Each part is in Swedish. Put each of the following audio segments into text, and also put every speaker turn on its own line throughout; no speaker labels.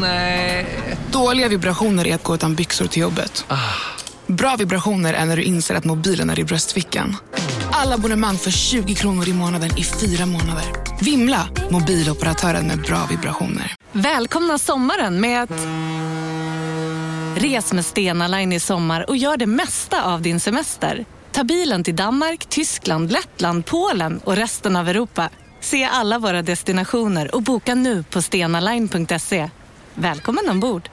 Nej.
Dåliga vibrationer är att gå utan byxor till jobbet. Bra vibrationer är när du inser att mobilen är i bröstfickan. Alla abonnemang för 20 kronor i månaden i fyra månader. Vimla! Mobiloperatören med bra vibrationer.
Välkomna sommaren med att... Res med Stena Line i sommar och gör det mesta av din semester. Ta bilen till Danmark, Tyskland, Lettland, Polen och resten av Europa. Se alla våra destinationer och boka nu på stenaline.se. Välkommen ombord!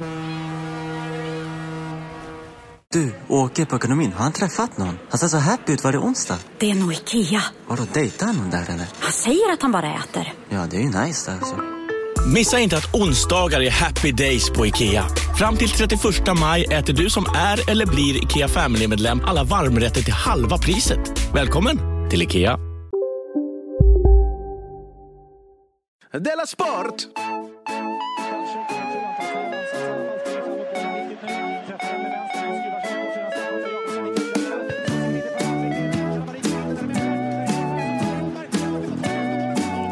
Du, åker på ekonomin. Har han träffat någon? Han ser så happy ut. Var det onsdag?
Det är nog Ikea.
Har du dejtat någon där eller?
Han säger att han bara äter.
Ja, det är ju nice där alltså.
Missa inte att onsdagar är happy days på IKEA. Fram till 31 maj äter du som är eller blir IKEA Family-medlem alla varmrätter till halva priset. Välkommen till IKEA.
Della Sport!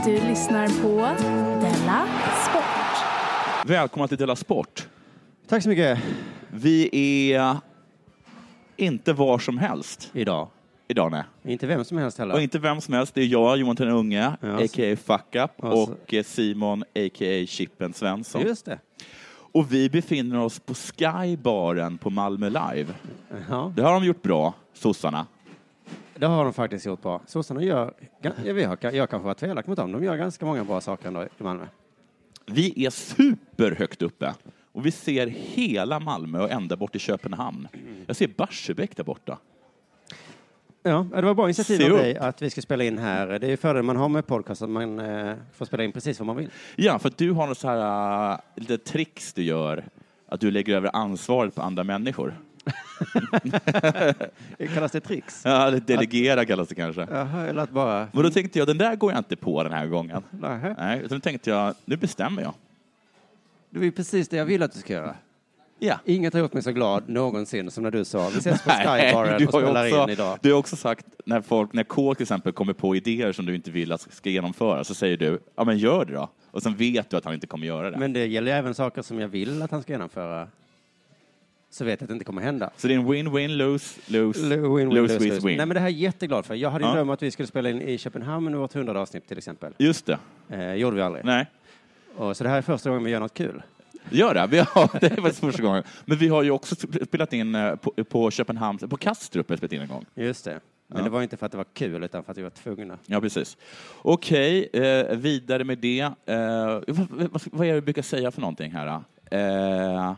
Du lyssnar på Della Sport.
Välkomna till Della Sport.
Tack så mycket.
Vi är inte var som helst.
Idag.
Idag nej.
Inte vem som helst heller.
Och inte vem som helst. Det är jag, Johan den unge,
Ja,
a.k.a. Fuck Up,
Ja, så-
och eh, Simon, a.k.a. Chippen Svensson.
Just det.
Och vi befinner oss på Skybaren på Malmö Live.
Ja,
Det har de gjort bra, sossarna.
det har de faktiskt gjort bra. Sossarna gör, gan- jag, vet, jag- jag kanske var elak mot dem, de gör ganska många bra saker ändå i Malmö.
Vi är superhögt uppe. Och vi ser hela Malmö och ända bort till Köpenhamn. Jag ser Barsebäck där borta.
Ja, det var bra initiativ
Se
av
upp.
dig att vi ska spela in här. Det är ju fördelen man har med podcast, att man eh, får spela in precis vad man vill.
Ja, för att du har något så här, äh, lite tricks du gör, att du lägger över ansvaret på andra människor.
Det kallas det tricks?
Ja, det delegera kallas det kanske.
Jaha, eller att bara...
Men då tänkte jag, den där går jag inte på den här gången.
Nähä.
Nej, utan då tänkte jag, nu bestämmer jag.
Det var ju precis det jag ville att du ska göra.
Ja.
Inget har gjort mig så glad någonsin som när du sa vi ses på Skybaren
du
och
har ju
spelar in
också,
idag.
du har också sagt, när, folk, när K till exempel kommer på idéer som du inte vill att ska genomföras, så säger du, ja men gör det då. Och sen vet du att han inte kommer göra det.
Men det gäller ju även saker som jag vill att han ska genomföra. Så vet jag att det inte kommer hända.
Så det är en win-win, lose, lose,
L- Win, win,
lose,
lose,
win,
lose.
win.
Nej, men det här är jag jätteglad för. Jag hade ju
Ja.
drömt om att vi skulle spela in i Köpenhamn under vårt hundrade avsnitt till exempel.
Just det.
Eh, gjorde vi aldrig.
Nej.
Och, så det här är första gången vi gör något kul.
Gör det? Vi har, det var första gången. Men vi har ju också spelat in eh, på, på Köpenhamn, på Kastrup har vi spelat in en gång.
Just det. Men det var inte för att det var kul utan för att vi var tvungna.
Ja, precis. Okej, eh, vidare med det. Eh, vad, vad, vad är det vi brukar säga för någonting här? då? Eh,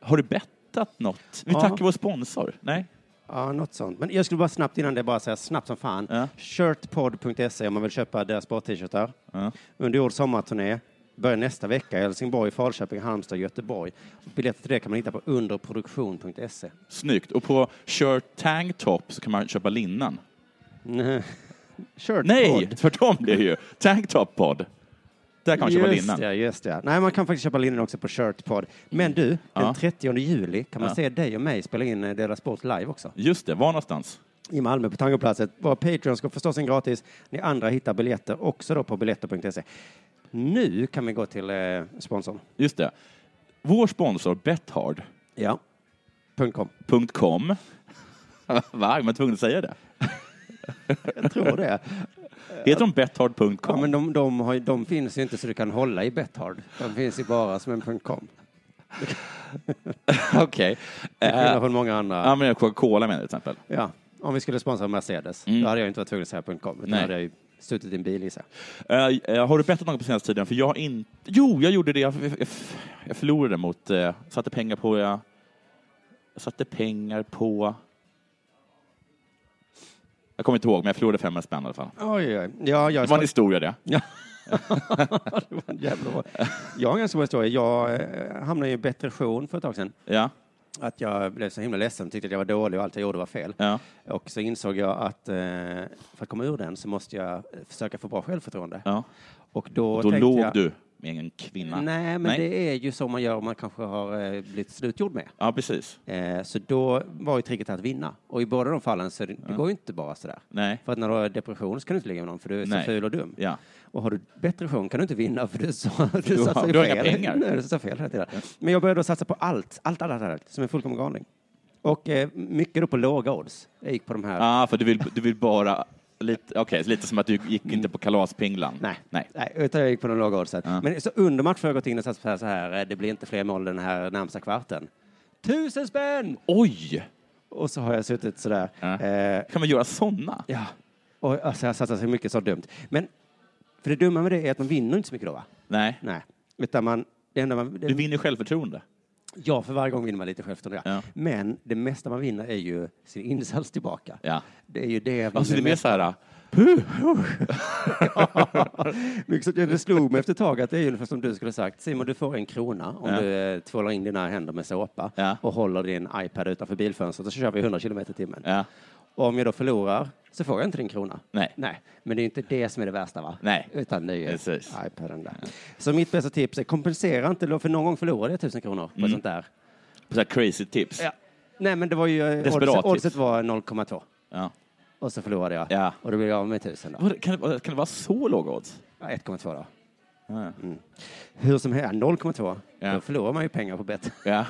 har du bettat något? Vi
Ja.
tackar vår sponsor. Nej?
Ja, något sånt. Men jag skulle bara snabbt innan det bara säga snabbt som fan.
Ja.
Shirtpod.se E om man vill köpa deras sport-t-shirtar.
Ja.
Under årets sommarturné börjar nästa vecka i Helsingborg, Falköping, Halmstad, Göteborg. Biljetter till det kan man hitta på underproduktion.se.
Snyggt. Och på Shirt Tank Top så kan man köpa linnen.
Shirtpod.
Nej, tvärtom blir det ju. Tank Top Pod. Där kan man köpa
Just
linnen.
det, just det. Nej, man kan faktiskt köpa linnen också på Shirtpod. Men du, den
Ja.
30 juli kan man
Ja.
se dig och mig spela in eh, Dela Sport live också.
Just det, var någonstans?
I Malmö på Tangoplatset. Våra Patreons går förstås in gratis. Ni andra hittar biljetter också då på biljetter.se. Nu kan vi gå till eh, sponsorn.
Just det. Vår sponsor Bethard.com.
Ja. .com.
Va? Man är tvungen att säga det.
Jag tror det.
Heter de Bethard.com?
Ja, men de, de, har, ju- de finns ju inte så du kan hålla i Bethard. De finns ju bara som en .com.
Okej.
Till
Eh,
skillnad från många
Ja,
andra.
men Coca-Cola menar du till exempel.
Ja. Om vi skulle sponsra Mercedes, då hade jag inte varit tvungen att säga .com. Utan
Mm. Nej.
hade jag ju suttit i en bil gissar jag.
Eh, eh, har du bettat något på senaste tiden? För jag har inte... Jo, jag gjorde det. Jag, jag, jag förlorade mot... eh, satte pengar på... Jag, jag satte pengar på... Jag kommer inte ihåg, men jag förlorade 500 spänn i alla fall.
Oj, oj. Ja, jag,
Det var en historia det.
Ja. det var en jävla bra. Jag har en ganska bra historia. Jag eh, hamnade i en depression för ett tag sedan.
Ja.
Att jag blev så himla ledsen, tyckte att jag var dålig och allt jag gjorde var fel.
Ja.
Och så insåg jag att eh, för att komma ur den så måste jag försöka få bra självförtroende.
ja.
Och då,
Då
tänkte
låg
jag,
du med en kvinna.
Nej, men det är ju så man gör om man kanske har eh, blivit slutgjord med.
Ja, precis.
Eh, så då var ju tricket att vinna. Och i båda de fallen så det, det går ju inte bara sådär.
Nej.
För att när du har depression så kan du inte ligga med någon för du är
Nej.
så ful och dum.
Ja.
Och har du depression kan du inte vinna för du, sa, du,
har-
satsar ju
du har inga
fel.
pengar.
Nej, du satsar fel hela tiden. Men jag började då satsa på allt, allt, allt, allt, allt som en fullkomlig galning. Och eh, mycket då på låga odds. Jag gick på de här.
Ja, Ah, för du vill, du vill bara... Lite, okej, lite som att du gick inte på kalaspinglan.
Nej.
Nej.
utan jag gick på de låga oddsen.
Ja.
Men så under match har jag gått in och satsat på så här, eh, det blir inte fler mål den här närmsta kvarten. Tusen spänn!
Oj!
Och så har jag suttit sådär.
Ja.
Eh,
Kan man göra såna?
ja. Och alltså, jag satsar så mycket så dumt. Men för det dumma med det är att man vinner inte så mycket då, va?
Nej.
Nej. Utan man, det enda man,
Du vinner självförtroende.
Ja, för varje gång vinner man lite självförtroende.
Ja.
Ja. Men det mesta man vinner är ju sin insats tillbaka.
Ja.
Det är ju det man
Alltså, det är mer
mest-
så här...
Mycket så- Det slog mig efter ett tag att det är ungefär som du skulle ha sagt. Simon, du får en krona om
Ja.
du eh, tvålar in dina händer med såpa
Ja.
och håller din iPad utanför bilfönstret och så kör vi 100 kilometer i timmen.
Ja.
Och om jag då förlorar så får jag inte din krona.
Nej.
Nej. Men det är ju inte det som är det värsta, va?
Nej.
Utan det är ju
Precis.
iPaden där. Så mitt bästa tips är kompensera inte, då, för någon gång förlorade jag tusen kronor
Mm.
på sånt där.
Så här crazy tips.
Ja. Nej, men det var ju... eh,
Desperat
oddset-
tips.
Oddset var 0,2.
Ja.
Och så förlorade jag.
Ja.
Och då blev jag av med tusen då.
Vad- Kan, det, vara- kan det vara så låga odds?
Ja, 1,2 då. Mm.
Ja.
Hur som helst, 0,2.
Ja.
Då förlorar man ju pengar på bett.
Ja.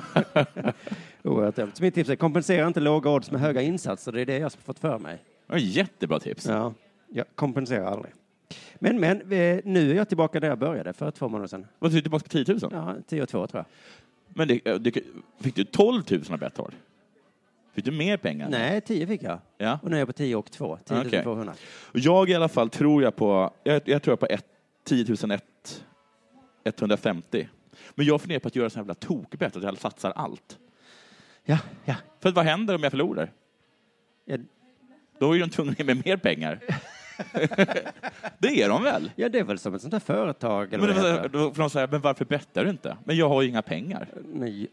Oerhört dumt. Så mitt tips är kompensera inte låga odds med höga insatser. Det är det jag har fått för mig.
Det var Jättebra tips.
Ja, jag kompenserar aldrig. Men, men, eh, nu är jag tillbaka där jag började för två månader sedan.
Vad tog du tillbaka på 10 000?
Ja, 10 och 2 tror jag.
Men det, det, fick du 12 000 av Betthard? Fick du mer pengar?
Nej, 10 fick jag.
Ja.
Och nu är jag på 10 och 2. 10
Okej.
200.
Jag i alla fall tror jag på, jag, jag tror jag på ett, 10 001, 150. Men jag funderar på att göra sån här jävla tokbett, att jag satsar allt.
Ja, ja.
För att vad händer om jag förlorar?
Ja,
Då är de tvungna att ge mig mer pengar. det är de väl?
ja, det är väl som ett sånt där företag. Eller
Men, det var
vad
så
det
här-
heter.
då får de säga, men varför bettar du inte? Men jag har ju inga pengar.
Nej,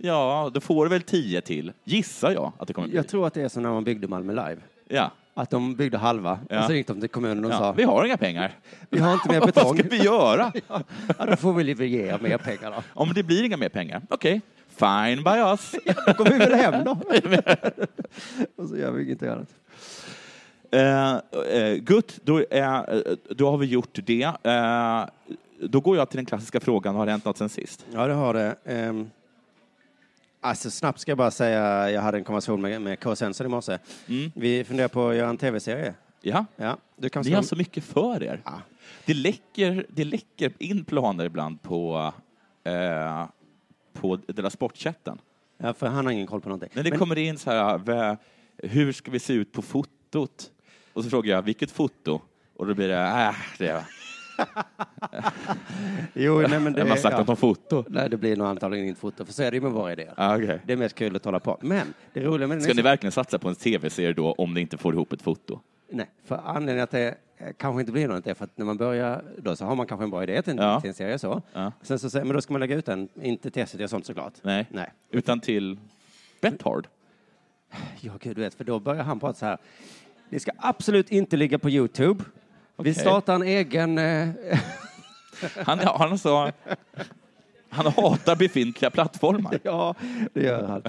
Ja, då får du väl 10 till, gissar jag att det kommer bli.
jag tror att det är som när man byggde Malmö Live.
Ja.
Att de byggde halva
Ja.
och så gick de till kommunen och
Ja,
sa
vi har inga pengar.
vi har inte mer betong.
Vad ska vi göra?
ja, då får vi väl ge er mer pengar då.
Om det blir inga mer pengar, okej, fine by us.
Då går vi väl hem då. och så gör vi inget annat.
Eh, eh, Gutt, då, eh, eh, då har vi gjort det. Eh, då går jag till den klassiska frågan, har det hänt något sen sist?
Ja, det har det. Ehm, alltså snabbt ska jag bara säga, jag hade en konversation med, med K. Svensson i morse. Vi funderar på att göra en tv-serie.
Ja.
Ja, du kan
Ni har så mycket för er.
Alltså, Ja.
Det, läcker, det läcker in planer ibland på, eh, på Della Sportchatten.
ja, för han har ingen koll på någonting.
Men det kommer in så här, vä- hur ska vi se ut på fotot? Och så frågar jag, vilket foto? Och då blir det, äh, det är
jo, nej, men det,
en massa
ja.
snack om foto.
Nej, det blir nog antagligen inget foto, för så är det ju med våra idéer.
Ah, okay.
Det är mest kul att hålla på. Men det roliga med den
Ska
är
ni verkligen satsa på en tv-serie då om ni inte får ihop ett foto?
Nej, för anledningen att det eh, kanske inte blir något är för att när man börjar då så har man kanske en bra idé till en,
Ja.
till en serie så.
Ja.
Sen så säger men då ska man lägga ut den, inte till SVT och sånt såklart.
Nej.
Nej.
Utan till Bethard.
Ja, gud, du vet, för då börjar han prata så här. Det ska absolut inte ligga på Youtube.
Okej.
Vi startar en egen... Eh,
Han, han, alltså, han hatar befintliga plattformar.
ja, det gör han.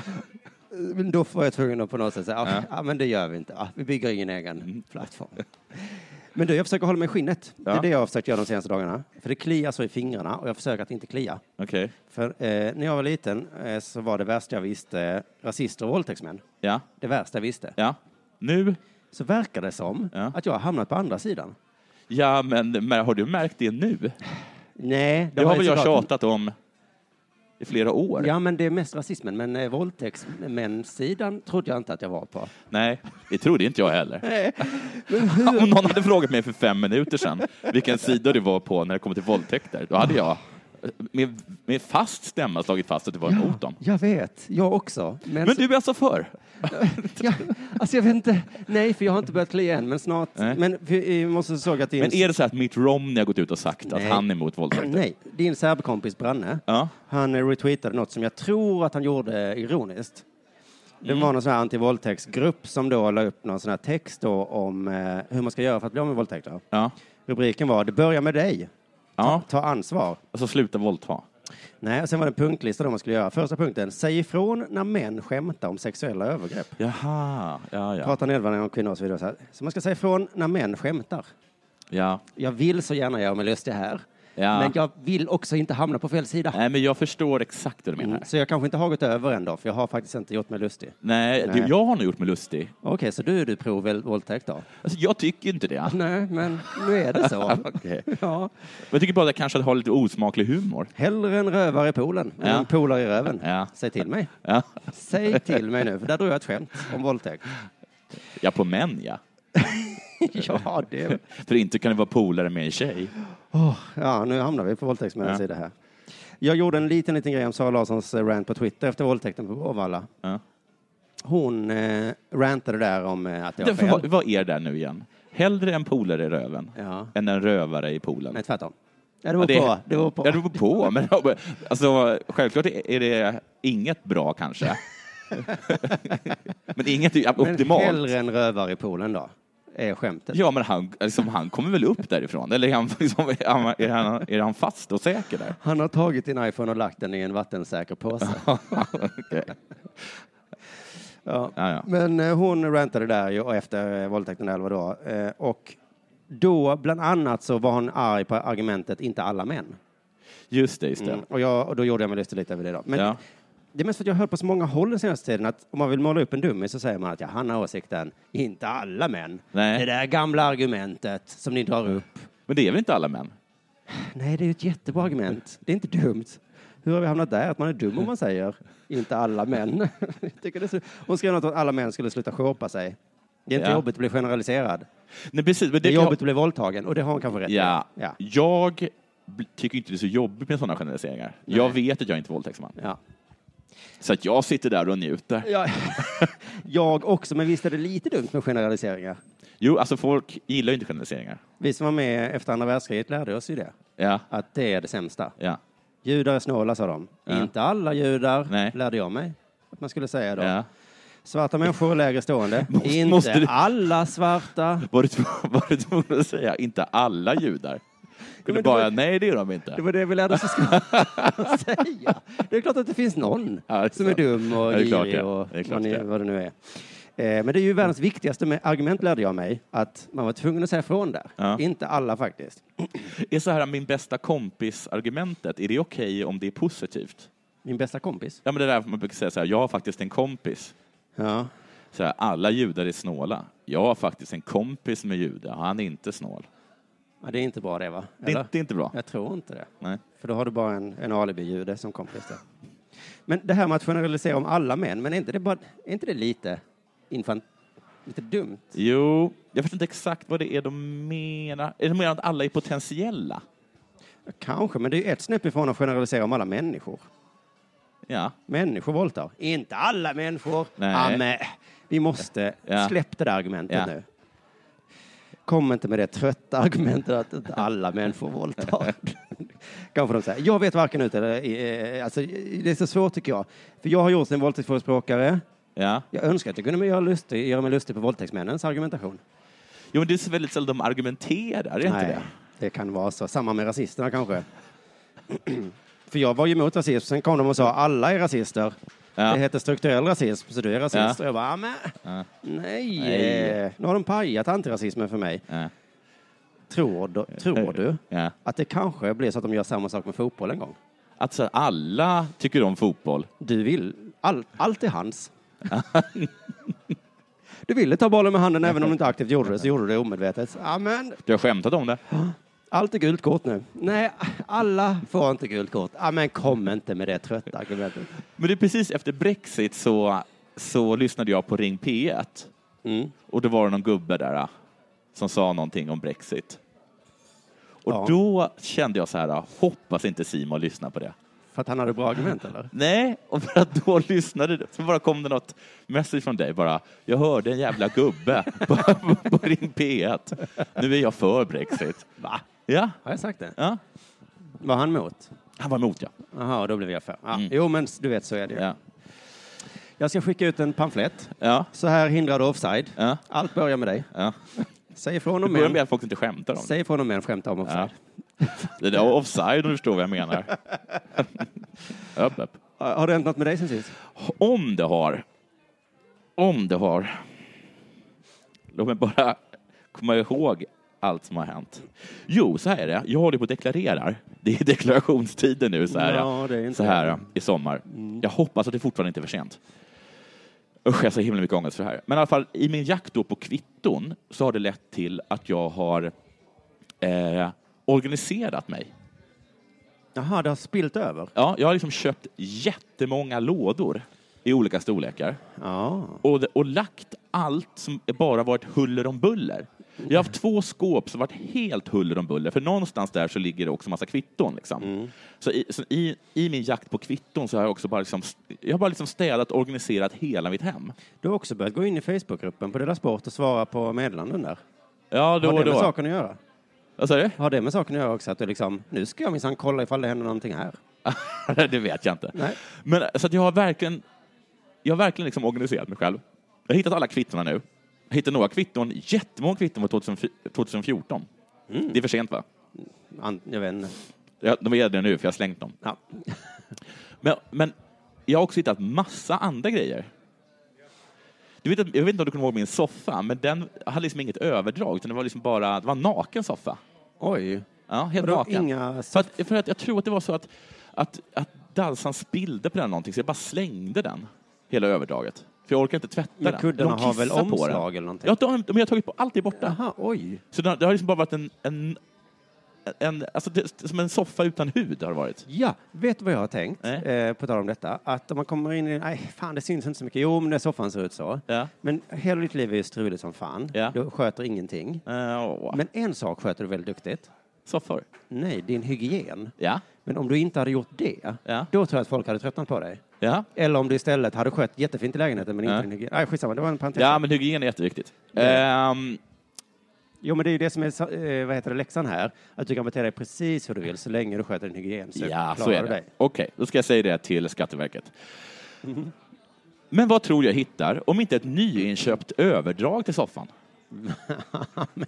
Men då får jag tvungen att på något sätt säga, ja. ja men det gör vi inte. Ja, vi bygger ingen egen plattform. Men du, jag försöker hålla mig i skinnet.
Mm.
Det
Ja.
är det jag har försökt göra de senaste dagarna. För det kliar så i fingrarna och jag försöker att inte klia.
Okej.
För eh, när jag var liten eh, så var det värsta jag visste rasister och våldtäktsmän.
Ja.
Det värsta jag visste.
ja. Nu?
Så verkar det som
Ja.
att jag har hamnat på andra sidan.
Ja, men men har du märkt det nu?
Nej,
Det har
ju
väl jag
såklart-
tjatat om i flera år?
Ja, men det är mest rasismen. Men eh, våldtäktsmän-sidan trodde jag inte att jag var på.
Nej, det trodde inte jag heller. Om någon hade frågat mig för fem minuter sedan vilken sida du var på när det kom till våldtäkter, då hade jag med, med fast stämma slagit fast att du var emot dem.
Jag vet, jag också. Men,
Men
så-
du är alltså för?
ja, alltså jag vet inte. Nej, för jag har inte börjat klia än, men snart.
Nej.
Men vi vi måste såga att din...
Men är det så att Mitt Romney har gått ut och sagt att
Nej.
han är emot våldtäkter?
Nej, din serbkompis Branne,
Ja.
han eh, retweetade något som jag tror att han gjorde ironiskt. Det
Mm.
var någon sån här antivåldtäktsgrupp som då la upp någon sån här text då om eh, hur man ska göra för att bli av med våldtäkter.
Ja.
Rubriken var Det börjar med dig.
Ja.
Ta ansvar.
Alltså sluta våldta.
Nej, och sen var det en punktlista då man skulle göra. Första punkten, säg ifrån när män skämtar om sexuella övergrepp.
Jaha, ja, ja.
Prata nedvärderande om kvinnor och så vidare. Så, här. så man ska säga ifrån när män skämtar.
ja.
Jag vill så gärna göra mig lustig här,
Ja.
men jag vill också inte hamna på fel sida.
Nej, men jag förstår exakt vad du menar.
Mm, Så jag kanske inte har gått över än då, för jag har faktiskt inte gjort mig lustig.
Nej,
Nej.
Du, jag har nog gjort mig lustig.
Okej, så du är du provvåldtäkt då?
Alltså, jag tycker inte det.
Nej, men nu är det så.
Okej.
ja.
Men Jag tycker bara att jag kanske har lite osmaklig humor.
Hellre en rövare i poolen än
Ja.
en polare i röven.
Ja.
Säg till mig.
Ja,
Säg till mig nu, för där drog jag ett skämt om våldtäkt.
ja på män ja.
ja, det...
För inte kan det vara polare med en tjej.
ja, nu hamnar vi på våldtäktsmännens
Ja.
sida här. Jag gjorde en liten, liten grej om Sara Larssons eh, rant på Twitter efter våldtäkten på Bråvalla.
Ja.
Hon eh, rantade där om eh, att jag var
Därför, vad,
fel.
vad är det där nu igen? Hellre en polare i röven
Ja.
än en rövare i poolen.
Nej, tvärtom. Ja, det var
Ja,
på. Det var på.
Ja, det beror på. Men, alltså, självklart är det inget bra kanske. men inget är
Men
optimalt.
hellre en rövare i poolen då, är skämtet.
Ja, men han, liksom, han kommer väl upp därifrån? Eller är han, liksom, är han, är han, är han fast och säker där?
Han har tagit din iPhone och lagt den i en vattensäker påse.
Okej.
Ja.
Ja, ja.
Men eh, hon rantade där ju och efter eh, våldtäkten där, eller vad då. Eh, och då, bland annat, så var hon arg på argumentet inte alla män.
Mm. Just det, just det.
Mm. Och, jag, och då gjorde jag mig lustig lite över det då. Men
Ja.
det är mest för att jag har hört på så många håll den senaste tiden att om man vill måla upp en dummy så säger man att ja, han har åsikten, inte alla män.
Nej.
Det där gamla argumentet som ni drar upp.
Men det är väl inte alla män?
Nej, det är ju ett jättebra argument. Det är inte dumt. Hur har vi hamnat där? Att man är dum om man säger inte alla män. Jag tycker det är så... Hon skrev något om att alla män skulle sluta shoppa sig. Det är inte
Ja.
jobbigt att bli generaliserad.
Nej, precis. Men
Det är
kan-
jobbigt att bli våldtagen och det har hon kanske rätt i.
Ja.
ja.
Jag bl- tycker inte det är så jobbigt med sådana generaliseringar. Jag vet att jag inte är våldtäktsman.
ja.
Så att jag sitter där och njuter.
Ja. Jag också, men visst är det lite dumt med generaliseringar?
Jo, alltså folk gillar ju inte generaliseringar.
Vi som var med efter andra världskriget lärde oss ju det,
Ja,
att det är det sämsta.
ja,
Judar är snåla, sa de.
Ja.
Inte alla judar,
Nej.
lärde jag mig att man skulle säga då.
ja.
Svarta människor är lägre stående.
Måste-
inte
måste du-
alla svarta.
Var du, tv- var du tvungen att säga inte alla judar?
men
Kunde
det
bara,
var-
nej det är de inte.
Det var det vi lärde oss i skolan att säga. Det är klart att det finns någon
Ja, det är
som är
klart.
dum och
Ja, det är klart,
girig
ja.
och
Det är klart,
vad, ni,
ja.
vad det nu är. Eh, Men det är ju världens viktigaste med- argument lärde jag mig, att man var tvungen att säga ifrån där.
Ja.
Inte alla faktiskt.
Är så här min bästa kompis-argumentet, är det okej om det är positivt?
Min bästa kompis.
Ja, men det där man brukar säga så här, jag har faktiskt en kompis.
Ja.
Så här, alla judar är snåla. Jag har faktiskt en kompis med jude, han är inte snål.
Ja, det är inte bra det va?
Det är,
Eller?
inte- det är inte bra.
Jag tror inte det.
Nej.
För då har du bara en, en alibi-jude som kompis där. Men det här med att generalisera om alla män, men är inte det, bara, är inte det lite infant... Lite dumt?
Jo, jag förstår inte exakt vad det är de menar. Är de menar att alla är potentiella?
Kanske, men det är ju ett snäpp ifrån att generalisera om alla människor.
Ja.
Människor våldtar. Inte alla människor.
Nej.
Ja, men vi måste
Ja.
släppa det där argumentet
Ja.
nu. Kom inte med det trötta argumentet att inte alla människor våldtar. Kanske de säger, jag vet varken ut eller eh, alltså, Det är så svårt tycker jag. För jag har gjort en våldtäktsförespråkare.
ja.
Jag önskar att jag kunde göra, lustig, göra mig lustig på våldtäktsmännens argumentation.
Jo, men det är så väldigt sällan de argumenterar, är det inte det?
det kan vara så. Samma med rasisterna kanske. För jag var ju emot rasism, sen kom de och sa alla är rasister.
Ja.
Det heter strukturell rasism, så du är rasist.
Ja.
Och jag bara, "Ah, men, nej.
Nej.
Nu har de pajat antirasismen för mig.
Ja.
Tror du, tror du
Ja.
att det kanske blir så att de gör samma sak med fotboll en gång?
Att så här, alla tycker om fotboll.
Du vill, all, allt är hans. du ville ta bollen med handen även om du inte aktivt gjorde det, så gjorde du det omedvetet. Ja, men
Du har skämtat om det.
Allt är gult kort nu. Nej, alla får inte gult kort. Ja, men kom inte med det trötta argumentet.
Men det är precis efter Brexit så, så lyssnade jag på Ring P1
Mm.
och då var det någon gubbe där ah, som sa någonting om Brexit. Och
Ja.
då kände jag så här, ah, hoppas inte Simon lyssnar på det.
För att han hade bra argument, eller?
Nej, och för att då lyssnade du, så bara kom det något message från dig bara. Jag hörde en jävla gubbe på, på, på Ring P1. Nu är jag för Brexit. Va? Ja.
Har jag sagt det?
ja.
Var han mot?
Han var emot, ja.
Jaha, då blev jag för. Ja. Jo, men du vet, så är det ju.
Mm. Ja.
Jag ska skicka ut en pamflett.
ja.
Så här hindrar du offside.
Ja.
Allt börjar med dig.
ja.
Säg ifrån
Det
om
börjar med
män.
att folk inte skämtar om det.
Säg ifrån om män skämtar om offside.
Det där var offside om du förstår vad jag menar. upp, upp.
Har det hänt något med dig sen sist?
Om det har. Om det har. Låt mig bara komma ihåg allt som har hänt. Jo, så här är det. Jag håller på och deklarerar. Det är deklarationstiden nu så här,
Ja, det Mm. är inte
så här i sommar. Jag hoppas att det fortfarande inte är för sent. Usch, jag har så himla mycket ångest för det här. Men i alla fall, i min jakt då på kvitton så har det lett till att jag har eh, organiserat mig.
Jaha, det har spilt över?
Ja, jag har liksom köpt jättemånga lådor i olika storlekar
Ja.
och, och lagt allt som bara varit huller om buller. Jag har haft två skåp som varit helt huller om buller, för någonstans där så ligger det också massa kvitton. Liksom. Så, i, så i, i min jakt på kvitton så har jag också bara, liksom, jag har bara liksom städat och organiserat hela mitt hem.
Du har också börjat gå in i Facebookgruppen på Dela Sport och svara på meddelanden där.
Ja, då
Har
och
det med
då.
saken att göra?
Vad sa du?
Har det med saken att göra också? Att du liksom, nu ska jag minsann kolla ifall det händer någonting här.
det vet jag inte.
Nej.
Men, så att jag har verkligen, jag har verkligen liksom organiserat mig själv. Jag har hittat alla kvittona nu. Jag hittade några kvitton, jättemånga kvitton från 2004 2014. Det är för sent va?
An- Jag vet inte.
Jag, de är det nu för jag har slängt dem.
Ja.
Men, men jag har också hittat massa andra grejer. Du vet, att- jag vet inte om du kommer ihåg min soffa, men den hade liksom inget överdrag, utan det var liksom bara, det var en naken soffa.
Oj.
Ja, helt
Vadå,
naken.
inga
för, att, för att jag tror att det var så att, att, att Dalsan spillde på den någonting, så jag bara slängde den, hela överdraget. För jag orkar inte tvätta
Men
den.
kuddarna har väl
kissar på den.
omslag eller någonting?
Ja, de, de har tagit på, allt är borta.
Jaha, oj.
Så det har, det har liksom bara varit en, en, en alltså det, som en soffa utan hud har det varit.
Ja, vet du vad jag har tänkt?
Nej.
Eh, på tal om detta. Att om man kommer in i... Nej, fan det syns inte så mycket. Jo, men när soffan ser ut så.
Ja.
Men hela ditt liv är ju struligt som fan.
Ja.
Du sköter ingenting.
Eh, åh,
Men en sak sköter du väldigt duktigt.
Soffor.
Nej, din hygien.
Ja.
Men om du inte hade gjort det,
Ja.
då tror jag att folk hade tröttnat på dig.
Ja.
Eller om du istället hade skött jättefint i lägenheten men inte
Ja.
din hygien. Nej, skitsamma, det var en parentes.
ja, men hygien är jätteviktigt. Ehm,
Jo, men det är ju det som är så- eh, vad heter det, läxan här. Att du kan bete dig precis hur du vill så länge du sköter din hygien. Så
ja, så
Typ klarar
är
du
det.
dig.
Okej, då ska jag säga det till Skatteverket.
Mhm.
Men vad tror jag hittar om inte ett nyinköpt överdrag till soffan?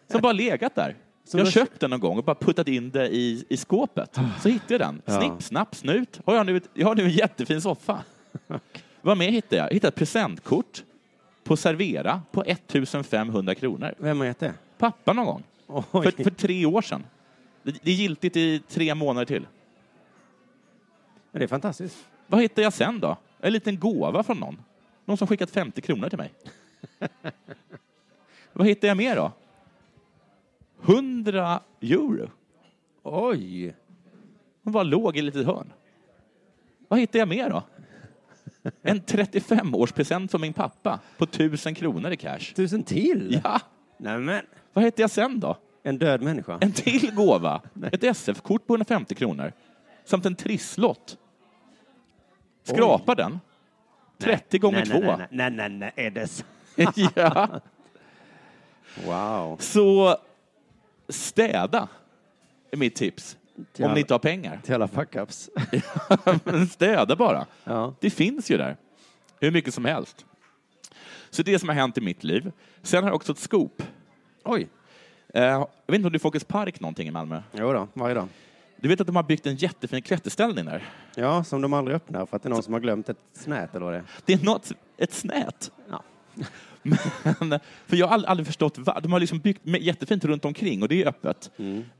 Som bara legat där.
Som Ah.
jag
du-
har köpt den någon gång och bara puttat in det i, i skåpet. Så hittade jag den. Snipp, snapp, snut. Har jag, nu ett, jag har nu en jättefin soffa. Vad mer hittade jag? Jag hittade ett presentkort på Servera på 1500 kronor.
Vem har gett det?
Pappa någon gång.
Oj.
För, för tre år sedan. Det, det är giltigt i tre månader till.
Men det är fantastiskt.
Vad hittar jag sen då? En liten gåva från någon. Någon som skickat 50 kronor till mig. Vad hittar jag mer då? 100 euro.
Oj!
Hon bara låg i ett litet hörn. Vad hittar jag mer då? En 35-årspresent från min pappa på 1000 kronor i cash.
Tusen till!
Ja,
Nämen!
vad hittar jag sen då?
En död människa.
En till gåva. Ett SF-kort på 150 kronor. Samt en trisslott. Skrapa den. 30 gånger två.
nej, Nej, nej, nej, nej, nej, är det så?
ja.
Wow.
Så städa är mitt tips.
Till
Om
alla-
ni inte har pengar.
Till alla fuck-ups.
Men städa bara.
Ja.
Det finns ju där. Hur mycket som helst. Så det är som har hänt i mitt liv. Sen har jag också ett scoop.
Oj!
Eh, Jag vet inte om du är Folkets park någonting i Malmö?
Jo då, varje dag.
Du vet att de har byggt en jättefin klätterställning där?
Ja, som de aldrig öppnar för att det är någon som har glömt ett snät eller vad det är.
Det är något, ett snät.
Ja.
Men, för jag har ald- aldrig förstått vad. De har liksom byggt med- jättefint runt omkring och det är öppet.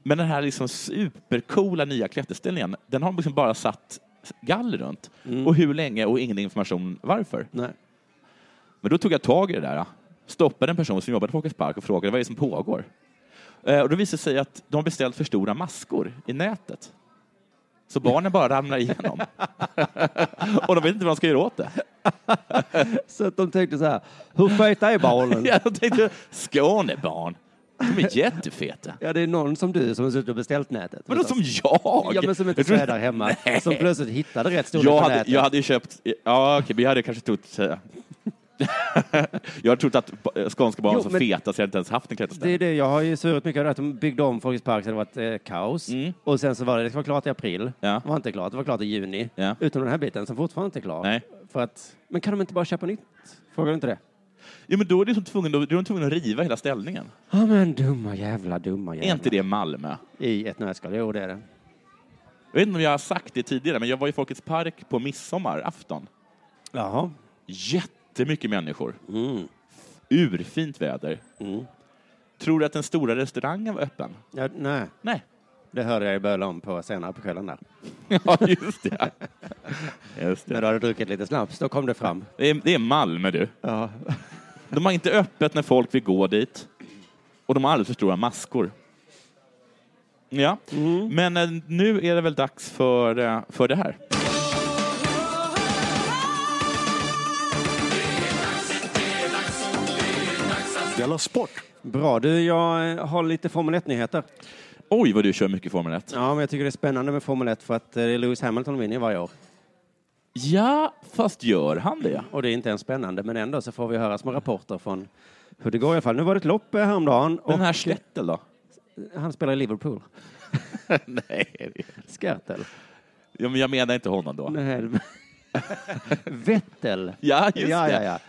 Men den här liksom supercoola nya klätterställningen, den har de liksom bara satt galler runt. Och hur länge och ingen information varför.
Nej.
Men då tog jag tag i det där. Stoppade en person som jobbade på Folkets Park och frågade vad är det som pågår. Eh, Och då visade det sig att de har beställt för stora maskor i nätet. Så barnen bara ramlar igenom. och de vet inte vad de ska göra åt det.
Så att de tänkte så här, hur feta är barnen?
Ja, jag tänkte, Skånebarn, de är jättefeta.
Ja, det är någon som du som har suttit och beställt nätet.
Vadå som jag?
Ja, men som inte
Jag tror-
städar hemma.
Nej.
Som plötsligt hittade rätt storlek
jag
på
hade,
nätet.
jag hade ju köpt, ja okej, men jag hade kanske trott, eh, jag hade trott att ba- skånska barn
Jo,
var så
men-
feta så jag hade inte ens haft en
Det
klätterställning.
är det, jag har ju surat mycket över att de byggde om Folkets Park så det var ett eh, kaos. Och sen så var det, det var klart i april,
Mm. Ja.
det var inte klart, det var klart i juni.
Ja.
Utom den här biten som fortfarande inte är klar.
Nej.
För att, men kan de inte bara köpa nytt? Frågar du inte det?
Ja, men då är, det som tvungen, då är de tvungna att riva hela ställningen.
Ja, men dumma jävla, dumma
Är inte
jävla.
det Malmö?
I ett nötskal, jo det är det.
Jag vet inte om jag har sagt det tidigare, men jag var i Folkets park på midsommarafton.
Jaha.
Jättemycket människor.
Mm.
Urfint väder. Tror du att den stora restaurangen var öppen?
Ja, nej,
Nej.
det hörde jag ju böla om på senare på kvällen där.
Ja, just det. Just
När
det.
du hade druckit lite snaps, då kom det fram.
Det, är, det är Malmö, du.
Ja.
De har inte öppet när folk vill gå dit. Och de har alldeles för stora maskor. Ja,
Mm.
men eh, nu är det väl dags för, eh, för det här.
Della Sport!
Bra, du, jag eh, har lite Formel 1-nyheter.
Oj, vad du kör mycket Formel 1.
Ja, men jag tycker det är spännande med Formel 1 för att eh, Lewis Hamilton vinner varje år.
Ja, fast gör han det?
Och det är inte ens spännande, men ändå så får vi höra små rapporter från hur det går i alla fall. Nu var det ett lopp eh, häromdagen och
Den här Stettel då?
han spelar i Liverpool.
Nej, det-
Skertel.
ja, men jag menar inte honom då.
Nej. Vettel.
Ja, just
ja,
det. Mm.
ja, ja.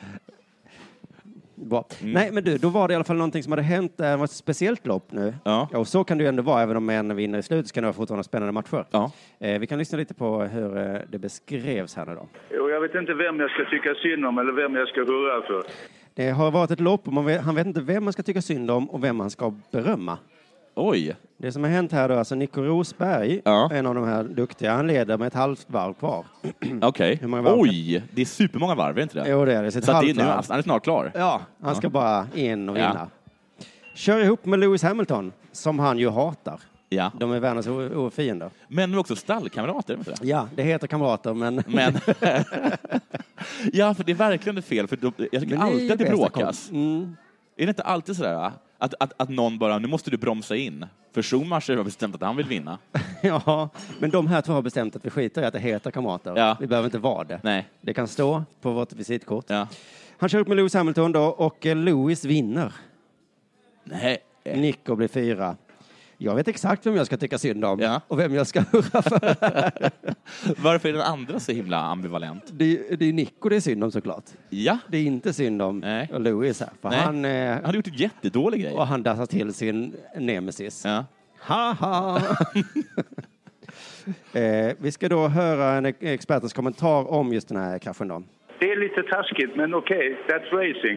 Bra. Nej, men du, då var det i alla fall någonting som hade hänt. eh, Det var ett speciellt lopp nu.
Ja.
och så kan det ju ändå vara, även om en vinner i slutet så kan det vara fortfarande spännande matcher.
Ja.
Eh, vi kan lyssna lite på hur eh, det beskrevs här nu då.
Jo, jag vet inte vem jag ska tycka synd om eller vem jag ska hurra för.
Det har varit ett lopp och man vet, han vet inte vem man ska tycka synd om och vem man ska berömma.
Oj.
Det som har hänt här då, alltså Nico Rosberg,
Ja.
en av de här duktiga, han leder med ett halvt varv kvar.
Okej.
Mm. Hur många varv?
Oj, det är supermånga varv, är det inte det?
Jo, det är det. Så ett
Så att det är
halvt
nu,
varv.
han är snart klar.
Ja, han ska bara in och
Ja.
vinna. Kör ihop med Lewis Hamilton, som han ju hatar.
Ja.
De är världens o- ofiender.
Men nu också stallkamrater, är det inte det?
Ja, det heter kamrater, men...
Men... ja, för det är verkligen ett fel. För då, jag tycker
Men är
alltid
ju
att det
bästa
bråkas.
komp- Mm.
Är det inte alltid sådär va? att, att, att någon bara, nu måste du bromsa in? För Schumacher har bestämt att han vill vinna.
Ja, men de här två har bestämt att vi skiter i att det heter kamrater.
Ja.
Vi behöver inte vara det.
Nej.
Det kan stå på vårt visitkort.
Ja.
Han kör upp med Lewis Hamilton då, och eh, Lewis vinner.
Nej.
Nico blir fyra. Jag vet exakt vem jag ska tycka synd om
Ja.
och vem jag ska hurra för.
Varför är den andra så himla ambivalent?
Det är, det är Nico det är synd om såklart.
Ja,
Det är inte synd om
Nej.
Lewis här, för
Nej.
han, eh,
han har gjort en jättedålig grej.
och han dansar till sin nemesis.
Ja.
Haha! eh, vi ska då höra en expertens kommentar om just den här kraschen då.
Det är lite taskigt, men okej, that's racing.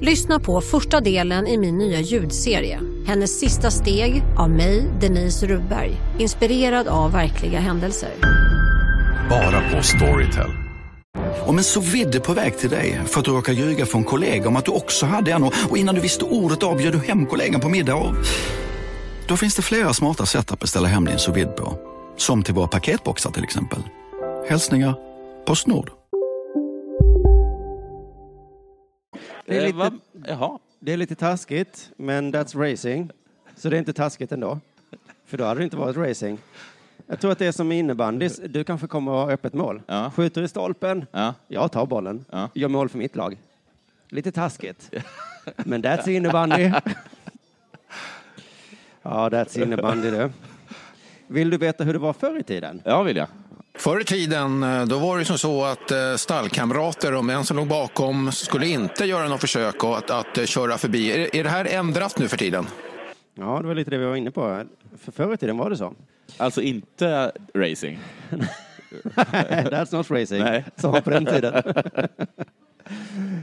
Lyssna på första delen i min nya ljudserie. Hennes sista steg av mig, Denise Rubberg. Inspirerad av verkliga händelser.
Bara på Storytel.
Om en så vidde på väg till dig för att du råkar ljuga från kollega om att du också hade en och och innan du visste ordet av bjöd du hem kollegan på middag och... Då finns det flera smarta sätt att beställa hem din sous vide på. Som till våra paketboxar till exempel. Hälsningar Postnord.
Det är,
Eh, va?
lite,
Jaha.
det är lite taskigt, men that's racing. Så det är inte taskigt ändå, för då hade det inte varit racing. Jag tror att det är som i innebandy, du kanske kommer att ha öppet mål.
Ja.
Skjuter i stolpen,
Ja.
jag tar bollen,
Ja.
gör mål för mitt lag. Lite taskigt, men that's innebandy. ja, that's innebandy du. Vill du veta hur det var förr i tiden?
ja, vill jag.
Förr i tiden eh, då var det som så att eh, stallkamrater, om en som låg bakom, skulle inte göra något försök att, att eh, köra förbi. Är, är det här ändrat nu för tiden?
Ja, det var lite det vi var inne på. För förr i tiden var det så.
Alltså inte racing.
That's not racing,
Nej.
som var på den tiden.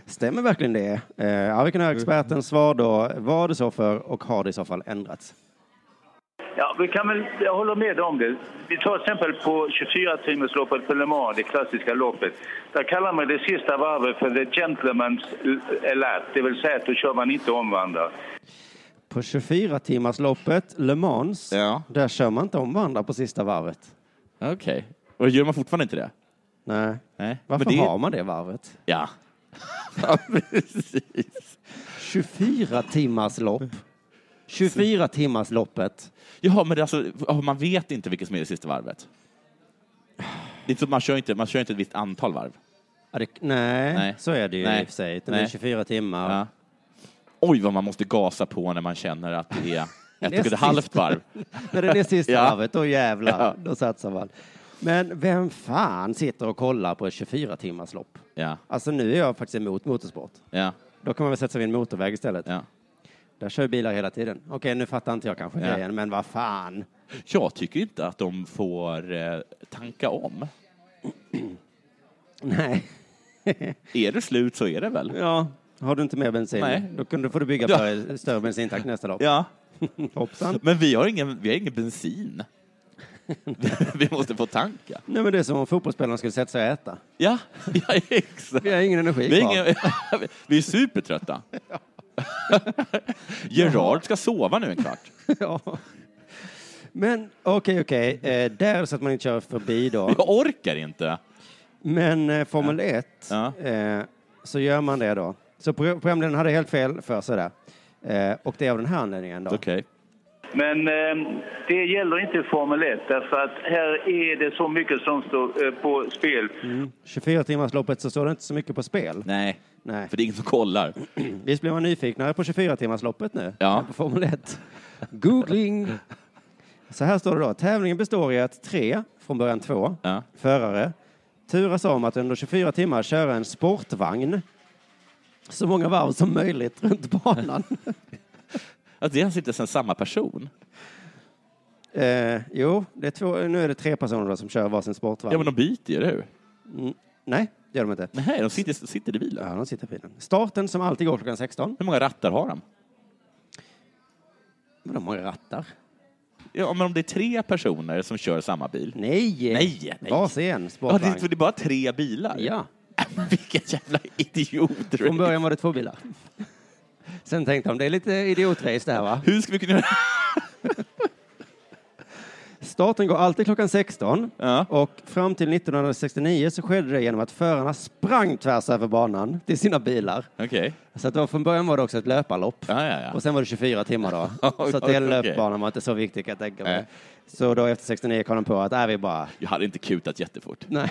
Stämmer verkligen det? Eh, Ja, vi kan
Mm.
höra expertens svar då. Var det så för och har det i så fall ändrats?
Ja, vi kan väl, jag håller med om det. Vi tar till exempel på 24-timmersloppet på Le Mans, det klassiska loppet. Där kallar man det sista varvet för the gentleman's lap, det vill säga att då kör man inte om varandra.
På 24-timmarsloppet, Le Mans,
Ja.
där kör man inte om varandra på sista varvet.
Okej. Och gör man fortfarande inte det?
Nej.
Nej.
Varför
Men det...
har man det varvet?
Ja.
Ja, precis. 24 timmars lopp. 24 timmars loppet.
Jaha, men det är alltså, ja, man vet inte vilket som är det sista varvet? Det är inte så, att man, kör inte, man kör inte ett visst antal varv.
Ja, det, nej,
Nej.
så är det ju
Nej.
i och för sig. Det är
Nej.
24 timmar.
Ja. Oj, vad man måste gasa på när man känner att det är ett och ett
Näst
halvt
sista.
varv.
När det är det sista
Ja.
varvet, då jävlar,
Ja.
då satsar man. Men vem fan sitter och kollar på ett 24 timmars lopp?
Ja,
Alltså nu är jag faktiskt emot motorsport.
ja.
Då kan man väl sätta sig vid en motorväg istället.
Ja.
Där kör ju bilar hela tiden. Okej, nu fattar inte jag kanske
Ja.
grejen, men vad fan.
Jag tycker inte att de får eh, tanka om.
Nej.
Är det slut så är det väl?
Ja, har du inte mer bensin,
Nej.
då kan du, får du bygga
Ja.
på en större bensintank nästa lopp.
Ja.
Hoppsan.
Men vi har ingen, vi har ingen bensin. vi måste få tanka.
Nej, men det är som om fotbollsspelarna skulle sätta sig och äta.
Ja, ja exakt.
Vi har ingen energi
Vi är,
kvar.
ingen, vi är supertrötta. Gerard ska sova nu en kvart.
ja. Men okej, okej. Eh, där så att man inte kör förbi då.
Jag orkar inte.
Men eh, Formel 1,
Ja.
eh, så gör man det då. Så pro- programledaren hade helt fel för sig där. Eh, och det är av den här anledningen då.
Okej.
Men eh, det gäller inte Formel 1 därför att här är det så mycket som står eh, på spel.
24 timmars loppet så står det inte så mycket på spel.
Nej,
Nej.
för det är ingen som kollar. Alltså,
Visst blir man nyfiknare på 24 timmars loppet nu?
Ja.
På Formel 1. Googling! Så här står det då. Tävlingen består i att tre, från början två,
Ja.
förare turas om att under 24 timmar köra en sportvagn så många varv som möjligt runt banan.
Att det är alltså inte ens samma person.
eh, jo, det är två, nu är det tre personer då som kör varsin sportvagn.
Ja, men de byter ju, eller hur?
Nej, det gör de inte.
Nej, de sitter, sitter i bilen.
Ja, de sitter i bilen. Starten som alltid går klockan 16.
Hur många rattar har de?
Men de har ju rattar.
Ja, men om det är tre personer som kör samma bil.
Nej!
Nej, nej.
Varsin en
Ja,
sportvagn.
det, är- för det är bara tre bilar.
Ja.
Vilken jävla idiot.
Från början var det två bilar. Sen tänkte de, det är lite idiotrace det här va?
Hur ska vi kunna...
Starten går alltid klockan 16
Ja.
och fram till 1969 så skedde det genom att förarna sprang tvärs över banan till sina bilar.
Okej.
Så att då, från början var det också ett löparlopp.
Ja, ja, ja.
Och sen var det 24 timmar då. så att det
Okej.
löpbanan var inte så viktig kan jag tänka mig.
Nej.
Så då efter 69 kom de på att, är vi bara,
Jag hade inte kutat jättefort.
nej.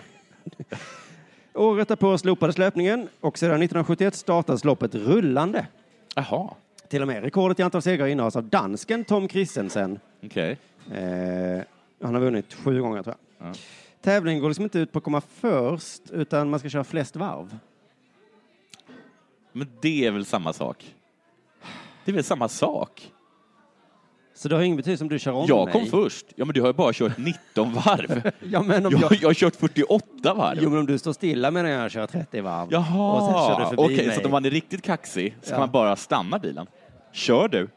Året därpå slopades löpningen och sedan 1971 startades loppet rullande.
Jaha.
Till och med rekordet i antal segrar innehas av dansken Tom Christensen.
Okej.
Eh, han har vunnit sju gånger tror jag.
Ja.
Tävlingen går liksom inte ut på att komma först utan man ska köra flest varv.
Men det är väl samma sak? Det är väl samma sak?
Så det har ingen betydelse om du kör om
jag
mig.
kom först. Ja, men du har ju bara kört 19 varv.
Ja, men om
jag,
jag...
jag har kört 48 varv.
Jo, men om du står stilla medan jag kör 30 varv. Och sen kör du
Jaha,
förbi
okej,
mig.
så att om man är riktigt kaxig så
Ja.
kan man bara stanna bilen. Kör du.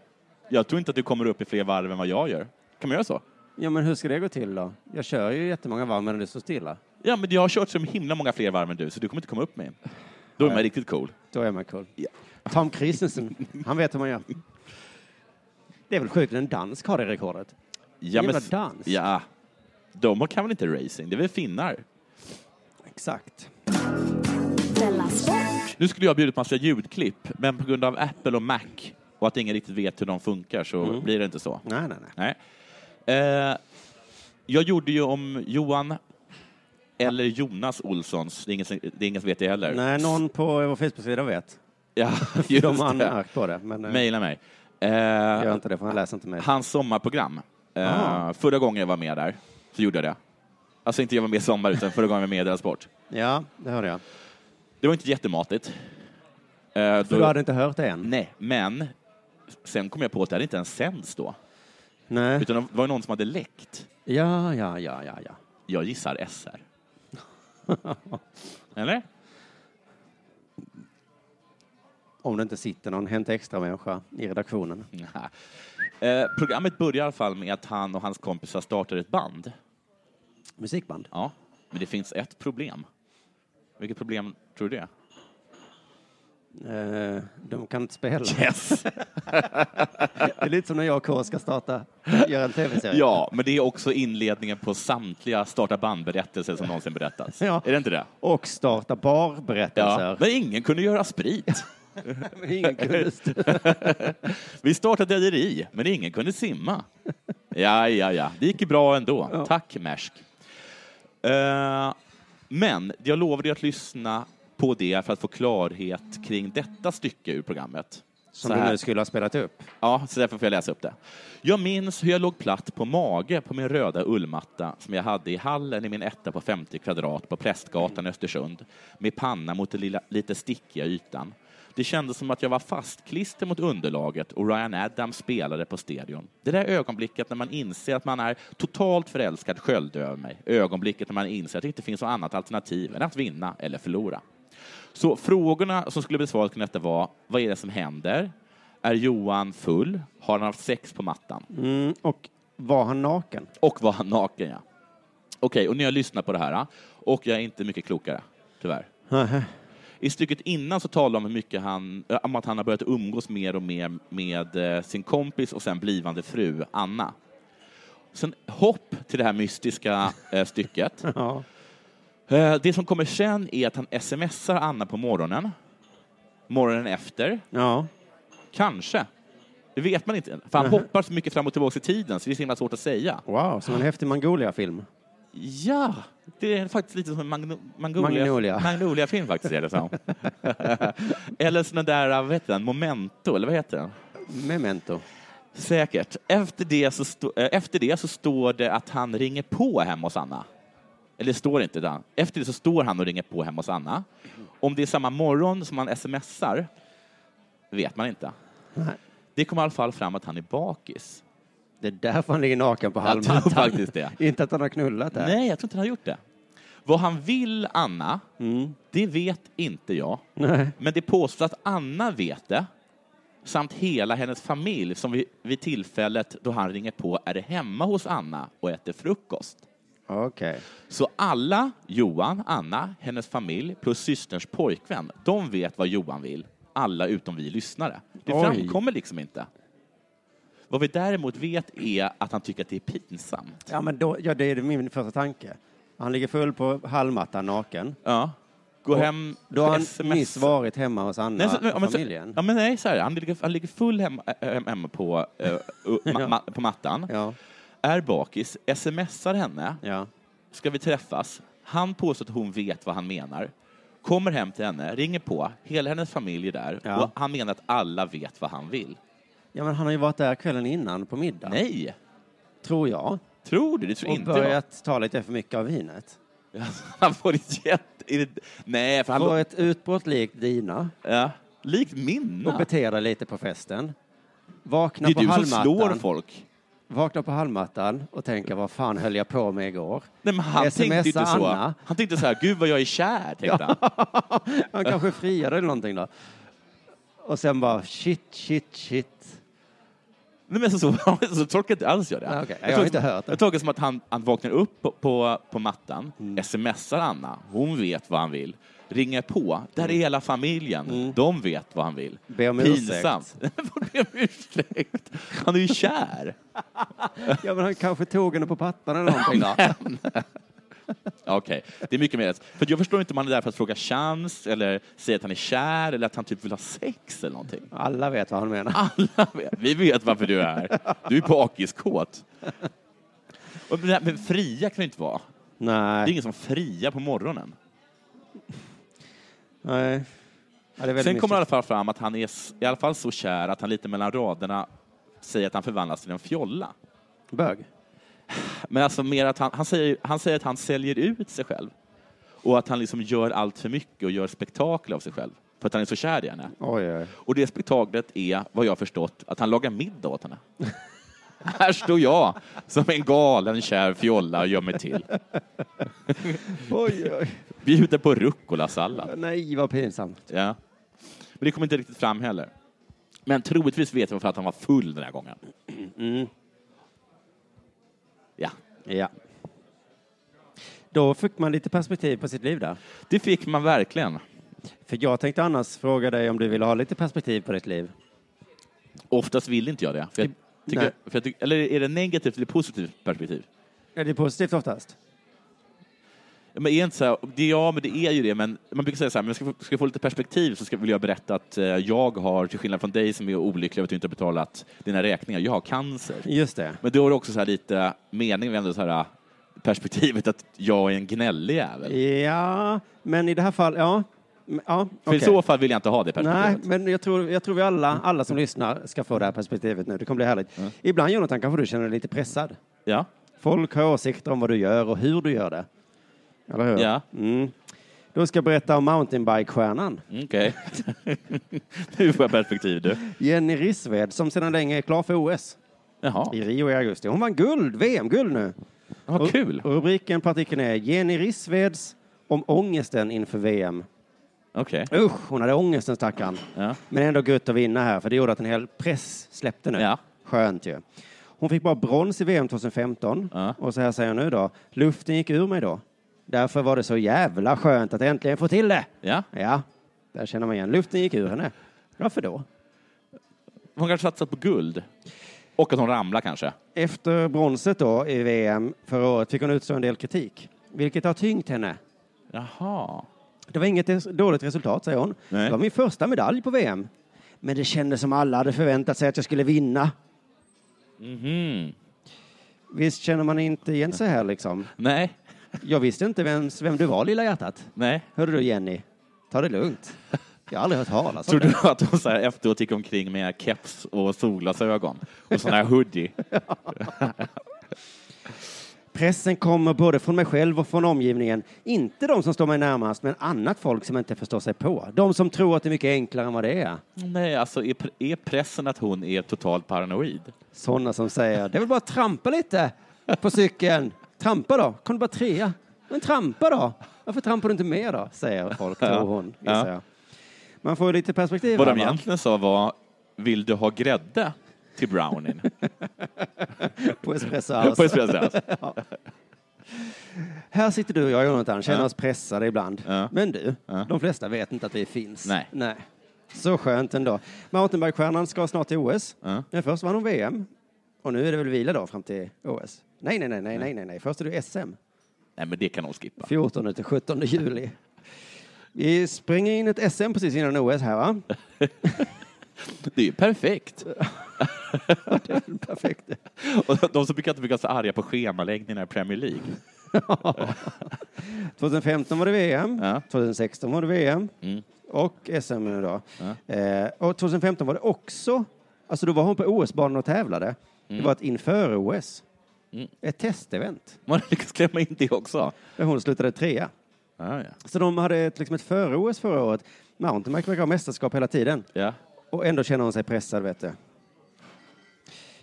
Jag tror inte att du kommer upp i fler varv än vad jag gör. Kan man göra så?
Ja, men hur ska det gå till då? Jag kör ju jättemånga varv medan du står stilla.
Ja, men jag har kört så himla många fler varv än du, så du kommer inte komma upp med. Då är man riktigt cool.
Då är man cool.
Ja.
Tom Christensen, han vet hur man gör. Det är väl sjukt, en dansk har det rekordet.
Ja,
Jävla dans.
Ja. De kan väl inte racing? Det är väl finnar?
Exakt.
Della Sport.
Nu skulle jag bjudit massa ljudklipp, men på grund av Apple och Mac och att ingen riktigt vet hur de funkar så blir det inte så.
Mm. Nej, nej, nej.
Nej. Eh, jag gjorde ju om Johan eller Jonas Olssons, det är ingen som, det är ingen som vet det heller.
Nej, någon på vår Facebook-sida vet.
Ja,
För
just
de har
det.
anmärkt på det, men eh,
Mejla mig.
gör
Eh,
inte det för han läser inte mejl.
hans sommarprogram. Eh,
Aha.
förra gången jag var med där så gjorde jag det. Alltså inte jag var med i sommar, utan förra gången jag var med i deras sport.
Ja, det hörde jag.
Det var inte jättematigt. Eh,
För
då-
du hade inte hört det än?
Nej, men sen kom jag på att det hade inte ens sänds då.
Nej.
Utan det var ju någon som hade läckt.
Ja, ja, ja, ja, ja.
Jag gissar SR. Eller?
Om det inte sitter någon Hänt Extra-människa i redaktionen.
Nja. Eh, programmet börjar i alla fall med att han och hans kompisar startar ett band.
Musikband?
Ja, men det finns ett problem. Vilket problem tror du det är?
Eh, de kan inte spela.
Yes.
det är lite som när jag och K ska starta, göra en tv-serie.
Ja, men det är också inledningen på samtliga starta bandberättelser som någonsin berättats.
Ja.
Är det inte det?
Och starta barberättelser.
Ja, men ingen kunde göra sprit.
Ingen kunde
Vi startade ett rederi, men ingen kunde simma. Ja, ja, ja. Det gick ju bra ändå. Tack, Mersk. Eh, men jag lovade ju att lyssna på det för att få klarhet kring detta stycke ur programmet.
Som du nu skulle ha spelat upp.
Ja, så därför får jag läsa upp det. Jag minns hur jag låg platt på mage på min röda ullmatta som jag hade i hallen i min etta på 50 kvadrat på Prästgatan i Östersund med panna mot den lilla, lite stickiga ytan. Det kändes som att jag var fastklister mot underlaget och Ryan Adams spelade på stereon. Det där ögonblicket när man inser att man är totalt förälskad sköljde över mig. Ögonblicket när man inser att det inte finns något annat alternativ än att vinna eller förlora. Så frågorna som skulle besvaras kring detta var, vad är det som händer? Är Johan full? Har han haft sex på mattan?
Mm, och var han naken?
Och var han naken, ja. Okej, och nu har jag lyssnat på det här och jag är inte mycket klokare, tyvärr.
Nähä.
I stycket innan så talar de om, hur mycket han, eh, om att han har börjat umgås mer och mer med eh, sin kompis och sen blivande fru, Anna. Sen hopp till det här mystiska eh, stycket. Eh, Det som kommer sen är att han smsar Anna på morgonen. Morgonen efter. Kanske. Det vet man inte. För han
Nej.
hoppar så mycket fram och tillbaka i tiden så det är så himla svårt att säga.
Wow, som en häftig Mongolia-film.
Ja, det är faktiskt lite som en Magno- Magnolia-
Magnolia.
Magnolia-film faktiskt är det som. eller sån där, vad heter den, Momento, eller vad heter den?
Memento.
Säkert. Efter det, så stå, eh, efter det så står det att han ringer på hemma hos Anna. Eller det står inte det. Efter det så står han och ringer på hemma hos Anna. Om det är samma morgon som han smsar vet man inte. Det kommer i alla fall fram att han är bakis.
Det är därför han ligger naken på
Jag
halmmattan.
tror faktiskt det.
inte att han har knullat där.
Nej, jag tror inte han har gjort det. Vad han vill, Anna,
Mm.
det vet inte jag.
Nej.
Men det påstås att Anna vet det, samt hela hennes familj som vid, vid tillfället då han ringer på är hemma hos Anna och äter frukost.
Okej.
Så alla, Johan, Anna, hennes familj plus systerns pojkvän, de vet vad Johan vill. Alla utom vi lyssnare. Det
Oj.
framkommer liksom inte. Vad vi däremot vet är att han tycker att det är pinsamt.
Ja, men då, ja, det är min första tanke. Han ligger full på halmmattan naken.
Ja. Gå
Och
hem,
Då har han
smsa.
nyss varit hemma hos Anna
Nej, så, ja,
och
men, så,
familjen.
ja, men nej, så här, han, ligger, han ligger full hemma, äh, hem- hemma på, eh, u- ma, ma, på mattan, är bakis, smsar henne, ska vi träffas? Han påstår att hon vet vad han menar, kommer hem till henne, ringer på, hela hennes familj är där
Ja.
och han menar att alla vet vad han vill.
Ja, men han har ju varit där kvällen innan på middag.
Nej!
Tror jag.
Tror du? Det tror
och
inte
börjat ta lite för mycket av vinet.
jag. Han får ett jätte... är det- Nej, för han...
Får ett utbrott likt dina.
Ja, likt minna.
Och beter dig lite på festen.
det
Vakna
är
på
du som
halmmattan.
slår folk.
Vakna på halmmattan och tänka vad fan höll jag på med igår?
Nej, men han
SMSa
tänkte inte så.
Anna.
Han tänkte så här, gud vad jag är kär, tänkte han.
Han kanske friade eller någonting då. Och sen bara shit, shit, shit.
Nej, men så, så, så tolkar inte alls jag det.
Nej, okej. Jag har
tolkar
inte
som-
hört det.
Jag tolkar som att han, han vaknar upp på, på, på mattan,
Mm.
smsar Anna, hon vet vad han vill, ringer på, där är hela familjen, de vet vad han vill.
Mm. Be om
Pinsamt. Be om ursäkt. Han är ju kär.
Ja, men han kanske tog henne på pattan eller någonting då.
Men- Okej, det är mycket mer. För jag förstår inte om han är där för att fråga chans eller säga att han är kär eller att han typ vill ha sex eller någonting.
Alla vet vad han menar.
Alla vet. Vi vet varför du är här. Du är bakiskåt. Och det här, men fria kan du inte vara. Det
Nej.
är ingen som friar på morgonen.
Nej. Ja, det är väldigt
Sen kommer
mystiskt.
i alla fall fram att han är s- i alla fall så kär att han lite mellan raderna säger att han förvandlas till en fjolla.
Bög.
Men alltså mer att han, han, säger, han säger att han säljer ut sig själv. Och att han liksom gör allt för mycket och gör spektakel av sig själv. För att han är så kär i henne.
Oj, oj.
Och det spektaklet är, vad jag har förstått, att han lagar middag åt henne. Här står jag som en galen kär fjolla och gör mig till.
oj, oj.
Bjuder på rucolasallad.
Nej, vad pinsamt.
Ja. Men det kom inte riktigt fram heller. Men troligtvis vet jag för att han var full den här gången. Ja.
Ja. Då fick man lite perspektiv på sitt liv där.
Det fick man verkligen.
För jag tänkte annars fråga dig om du vill ha lite perspektiv på ditt liv.
Oftast vill inte jag det. För jag tycker,
Nej.
för jag tycker, eller är det negativt eller positivt perspektiv?
Är det positivt oftast?
Men är inte så här, det, ja, men det är ju det, men man brukar säga så här, men ska, jag få- ska jag få lite perspektiv så ska, vill jag berätta att eh, jag har, till skillnad från dig som är olycklig över att du inte har betalat dina räkningar, jag har cancer.
Just det.
Men då har du också så här lite mening med ändå så här, perspektivet att jag är en gnällig jävel.
Ja, men i det här fallet, ja. Men- ja
För i
okej.
så fall vill jag inte ha det perspektivet.
Nej, men jag tror, jag tror vi alla, alla som lyssnar ska få det här perspektivet nu. Det kommer bli härligt. Ibland, Jonathan, kanske du känner dig lite pressad.
Ja.
Folk har åsikter om vad du gör och hur du gör det. Eller hur?
Ja.
Mm. Då ska jag berätta om mountainbike-stjärnan.
Mm, Okej. nu får jag perspektiv du.
Jenny Rissved, som sedan länge är klar för OS. I Rio i augusti. Hon vann guld, VM-guld nu.
Vad kul.
Och rubriken på artikeln är Jenny Rissveds om ångesten inför VM.
Okej.
Usch, hon hade ångesten stackarn. Men ändå gött att vinna här, för det gjorde att en hel press släppte nu. Skönt ju. Hon fick bara brons i VM 2015. Och så här säger hon nu då. Luften gick ur mig då. Därför var det så jävla skönt att äntligen få till det.
Ja.
Ja, där känner man igen. Luften gick ur henne. Varför då?
Hon kanske satsat på guld. Och att hon ramlar kanske.
Efter bronset då i VM förra året fick hon utstå en del kritik, vilket har tyngt henne.
Jaha.
Det var inget res- dåligt resultat, säger hon.
Nej.
Det var min första medalj på VM. Men det kändes som alla hade förväntat sig att jag skulle vinna.
Mhm.
Visst känner man inte igen sig här liksom?
Nej.
Jag visste inte vems, vem du var, lilla hjärtat.
Nej.
Hörru du Jenny, ta det lugnt. Jag har aldrig hört talas om
Tror
det.
du att hon så här efteråt gick omkring med keps och solglasögon och sån här hoodie?
Pressen kommer både från mig själv och från omgivningen. Inte de som står mig närmast, men annat folk som inte förstår sig på. De som tror att det är mycket enklare än vad det är.
Nej, alltså är, pre- är pressen att hon är totalt paranoid?
Sådana som säger, det är väl bara att trampa lite på cykeln. Trampa då, kom du bara trea. Men trampa då, varför trampar du inte mer då? Säger folk, tror hon. gissar jag. Man får ju lite perspektiv.
Vad
här,
de
va?
egentligen sa var, vill du ha grädde till brownien?
På Espresso House.
På Espresso House.
Ja. Här sitter du och jag, Jonathan, känner
Ja.
oss pressade ibland. Men du, de flesta vet inte att vi finns.
Nej.
Så skönt ändå. Mountainbikestjärnan ska snart till OS. Men först vann hon VM. Och nu är det väl vila då fram till OS? Nej, nej, nej, nej, nej, nej, nej. Först är det SM.
Nej, men det kan hon skippa.
14 till 17 juli. Vi springer in ett SM precis innan OS här, va?
Det är ju perfekt.
det är perfekt.
Och de som brukar inte bli så arga på schemaläggningar i Premier League.
2015 var det VM, 2016 var det VM och SM nu då. Eh, och 2015 var det också, alltså då var hon på OS-banan och tävlade. Det var ett inför OS, ett testevent,
Man lyckas klämma in det också.
där hon slutade trea.
Ah, ja.
Så de hade ett, liksom ett före-OS förra året. Mountainbike verkar ha mästerskap hela tiden.
Ja.
Och ändå känner hon sig pressad, vet du.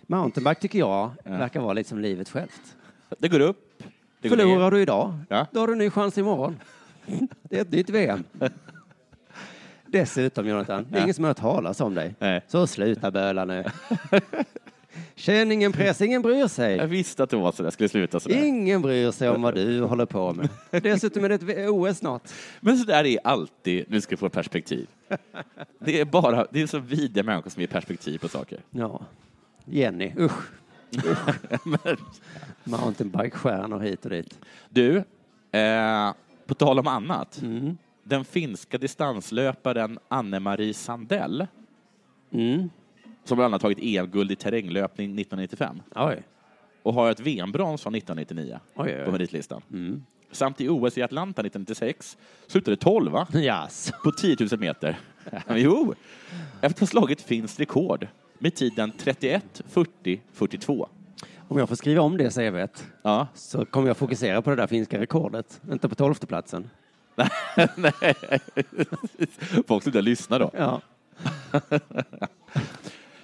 Mountainbike tycker jag verkar vara lite som livet självt.
Det går upp. Det går
Förlorar
ner.
du idag,
Ja.
då har du en ny chans imorgon. Det är ett nytt VM. Dessutom, Jonathan, det är
Ja.
ingen som har hört talas om dig.
Nej.
Så sluta böla nu. Känn ingen press, ingen bryr
Jag
sig.
visste att det var så där, skulle sluta så där.
Ingen bryr sig om vad du håller på med. Dessutom är det ett V- OS snart.
Men så där är alltid, nu ska vi få perspektiv. Det är bara, det är så vidriga människor som ger perspektiv på saker.
Ja. Jenny, usch.
Men-
Mountainbike-stjärnor hit och dit.
Du, eh, på tal om annat. Den finska distanslöparen Anne-Marie Sandell, som bland annat tagit EM-guld i terränglöpning 1995
Oj.
och har ett VM-brons från 1999
Oj, Mm. oj, oj.
på meritlistan. Samt i OS i Atlanta 1996 slutade 12 va? på 10 000 meter. jo, efter att ha slagit finns rekord med tiden 31, 40, 42.
Om jag får skriva om det CVet
Ja.
så kommer jag fokusera på det där finska rekordet, inte på tolfteplatsen.
Nej. Folk slutar lyssna då.
Ja.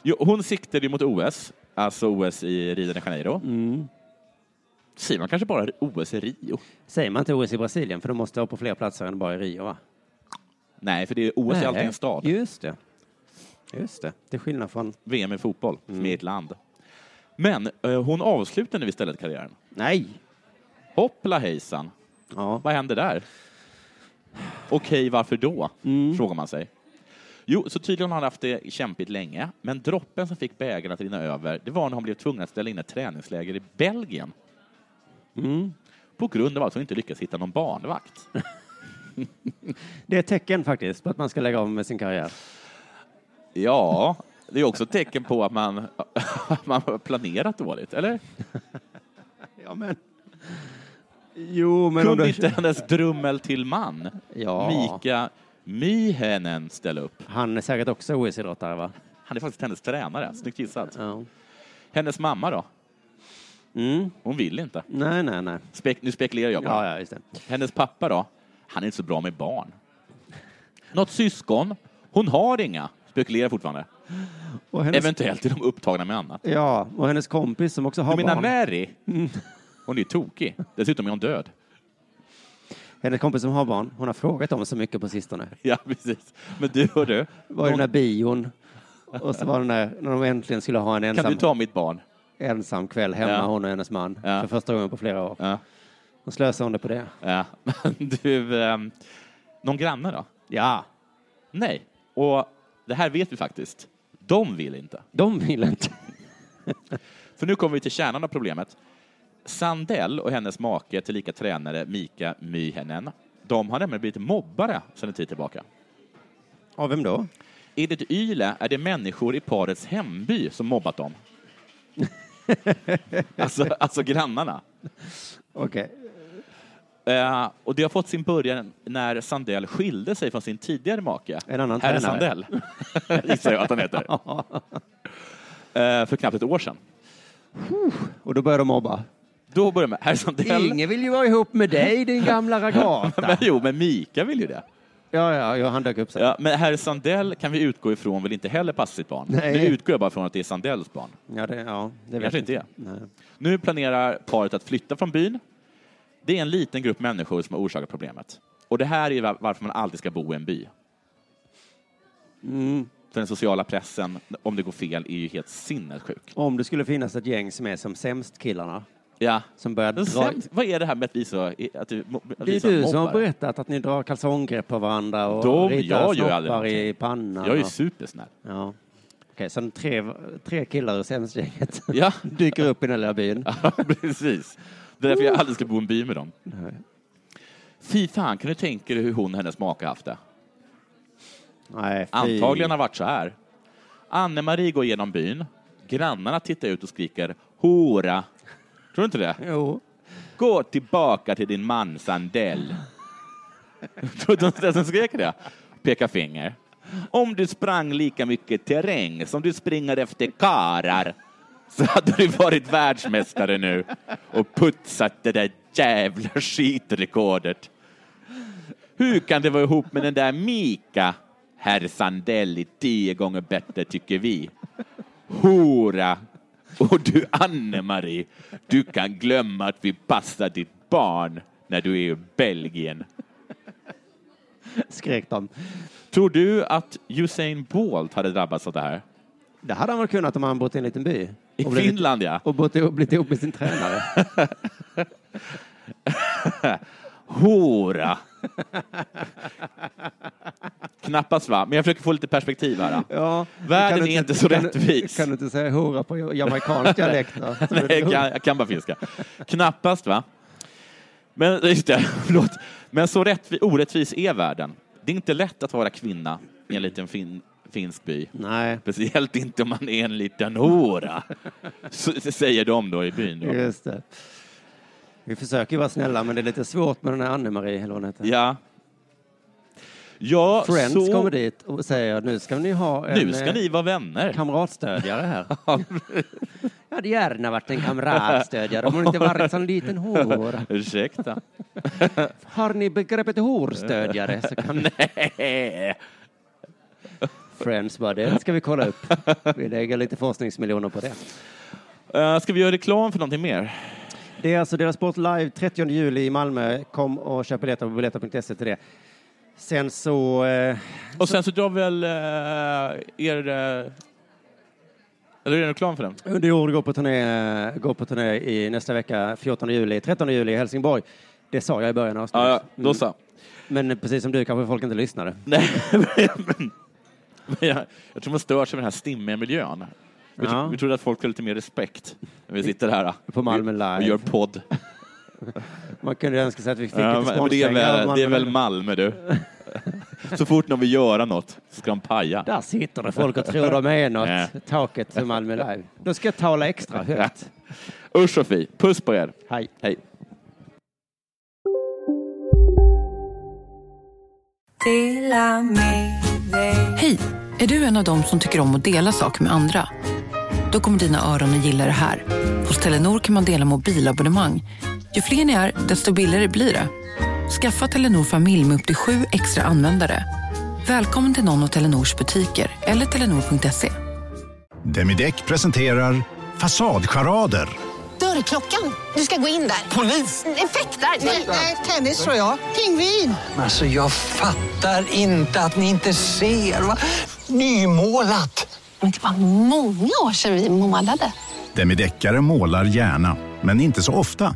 Jo, hon siktade ju mot OS, alltså OS i Rio de Janeiro. Säger man kanske bara OS i Rio?
Säger man inte OS i Brasilien, för de måste vara på fler platser än bara i Rio, va?
Nej, för det är OS
Nej.
är alltid en stad.
Just det. Just det. Till skillnad från...
VM i fotboll, som är ett land. Men eh, hon avslutar nu istället karriären.
Nej!
Hoppla hejsan.
Ja.
Vad händer där? Okej, varför då? Frågar man sig. Jo, så tydligen har han haft det kämpigt länge, men droppen som fick bägaren att rinna över, det var när han blev tvungen att ställa in ett träningsläger i Belgien. På grund av att han inte lyckats hitta någon barnvakt.
Det är ett tecken faktiskt på att man ska lägga av med sin karriär.
Ja, det är också ett tecken på att man, att man har planerat dåligt, eller?
Ja, men... Jo, men... om
Kunde
du-
inte hennes drummel till man,
Ja.
Mika Myhänen, ställa upp?
Han är säkert också OS-idrottare, va?
Han är faktiskt hennes tränare. Snyggt gissat. Hennes mamma då? Hon vill inte.
Nej, nej, nej.
Spek- nu spekulerar jag bara.
Ja, ja, just det.
Hennes pappa då? Han är inte så bra med barn. Något syskon? Hon har inga. Spekulerar fortfarande.
Och hennes-
Eventuellt är de upptagna med annat.
Ja, och hennes kompis som också har
Du menar
barn.
Mary? Hon är tokig. Dessutom är hon död.
Hennes kompis som har barn. Hon har frågat om så mycket på sistone.
Ja, precis. Men du, hörru.
Var är den där bion? Och så var den där, när de äntligen skulle ha en ensam...
Kan du ta mitt barn?
ensam kväll hemma,
Ja.
hon och hennes man,
Ja.
för första gången på flera år.
Ja.
Då slösade hon det på det.
Ja, men du, ehm, någon granne då?
Ja.
Nej, och det här vet vi faktiskt. De vill inte.
De vill inte.
För nu kommer vi till kärnan av problemet. Sandell och hennes make, tillika tränare, Mika Myhänen, de har nämligen blivit mobbare sedan en tid tillbaka.
Av vem då?
Enligt Yle är det människor i parets hemby som mobbat dem. alltså, alltså grannarna.
Okej.
Eh, och det har fått sin början när Sandell skilde sig från sin tidigare make.
En annan
Herr
tränare.
Sandell, gissar jag att han heter. Eh, för knappt ett år sedan.
Och då börjar de mobba.
Då börjar med herr Sandell.
Ingen vill ju vara ihop med dig, din gamla ragata.
men, jo, men Mika vill ju det.
ja, ja, ja, han dök upp sen.
Ja, men herr Sandell kan vi utgå ifrån vill inte heller passa sitt barn.
Nej.
Nu utgår jag bara från att det är Sandells barn.
Ja, det, ja, det vet
Kanske
jag
inte är.
Nej.
Nu planerar paret att flytta från byn. Det är en liten grupp människor som har orsakat problemet. Och det här är var- varför man alltid ska bo i en by.
Mm.
För den sociala pressen, om det går fel, är ju helt sinnessjuk.
Om det skulle finnas ett gäng som är som sämst killarna,
Ja.
som börjar
Men
dra...
sen, vad är det här med att vi så... Att du, att
Det
vi
är
så
du som har
mobbar?
berättat att ni drar kalsonggrepp på varandra och
De gör
ritar
ju aldrig
snoppar
någonting.
i pannan.
Jag är ju
och-
supersnäll.
Ja. Okej, så de tre, tre killar ur sämstgänget
Ja.
dyker upp i den här lilla byn.
Ja, precis. Det är därför jag aldrig ska bo i en by med dem. Fy fan, kan du tänka dig hur hon och hennes make haft det?
Nej, fy.
Antagligen har varit så här. Anne-Marie går genom byn. Grannarna tittar ut och skriker hora. Tror du inte det?
Jo.
Gå tillbaka till din man Sandell. Tror du inte att de skrek det? Peka finger. Om du sprang lika mycket terräng som du springer efter karar så hade du varit världsmästare nu och putsat det där jävla skitrekordet. Hur kan det vara ihop med den där Mika? Herr Sandell är tio gånger bättre tycker vi. Hora! Och du Anne-Marie, du kan glömma att vi passar ditt barn när du är i Belgien.
Skrek de.
Tror du att Usain Bolt hade drabbats av det här?
Det hade han väl kunnat om han bott i en liten by.
I
Och blivit-
Finland, ja.
Och bott ihop, blivit ihop med sin tränare.
Hora! Knappast, va? Men jag försöker få lite perspektiv här. då.
Ja.
Världen
Kan du
är inte så
kan du-
rättvis.
Kan du inte säga hora på jamaicansk dialekt? då? Så
Nej,
blir det
jag,
hora.
kan, jag kan bara finska. Knappast, va? Men, just det, förlåt. Men så rättvi, orättvis är världen. Det är inte lätt att vara kvinna i en liten fin, finsk by.
Nej,
Speciellt inte om man är en liten hora, Så- så säger de då i byn. Då.
just det. Vi försöker ju vara snälla, men det är lite svårt med den här Anne-Marie, eller vad hon heter.
Ja. Ja,
Friends
så...
kommer dit och säger nu ska ni ha en
Nu ska
eh,
ni vara vänner.
kamratstödjare här. Jag hade gärna varit en kamratstödjare om hon inte varit en sån liten hora.
Ursäkta.
Har ni begreppet horstödjare så kan
Nej.
Friends bara, det ska vi kolla upp. Vi lägger lite forskningsmiljoner på det.
Eh, Ska vi göra reklam för någonting mer?
Det är alltså deras sport live 30 juli i Malmö. Kom och köp biljetter på biljetter.se till det. Sen så... Eh,
Och sen så drar väl eh, er... eh, Eller är det reklam för den?
under jord går på turné, går på turné i nästa vecka, 14 juli, 13 juli i Helsingborg. Det sa jag i början av
Ja,
avsnittet. Mm.
ja, då så.
Men precis som du kanske folk inte lyssnade.
Nej, Men jag, jag tror man stör sig av den här stimmiga miljön. Vi,
Ja.
tro, vi trodde att folk skulle ha lite mer respekt när vi sitter här äh,
På Malmö
och
Live.
gör podd.
Man kunde önska sig att vi fick
Ja,
lite
men- men det, är väl,
sponsorpengar.
det är väl Malmö, du. Så fort någon vill göra något så ska de paja.
Där sitter det folk och tror de är något. Taket till Malmö Live. Då ska jag tala extra högt.
Usch, Sofie. Puss på er.
Hej.
Hej.
Hej! Är du en av dem som tycker om att dela saker med andra? Då kommer dina öron att gilla det här. Hos Telenor kan man dela mobilabonnemang. Ju fler ni är, desto billigare blir det. Skaffa Telenor familj med upp till sju extra användare. Välkommen till någon av Telenors butiker eller telenor.se.
Demideck presenterar Fasadcharader.
Dörrklockan. Du ska gå in där. Polis? Effektar? Nej, tennis tror jag. Pingvin.
Alltså jag fattar inte att ni inte ser. Va? Nymålat.
Men det var många år sedan vi målade.
Demideckare målar gärna, men inte så ofta.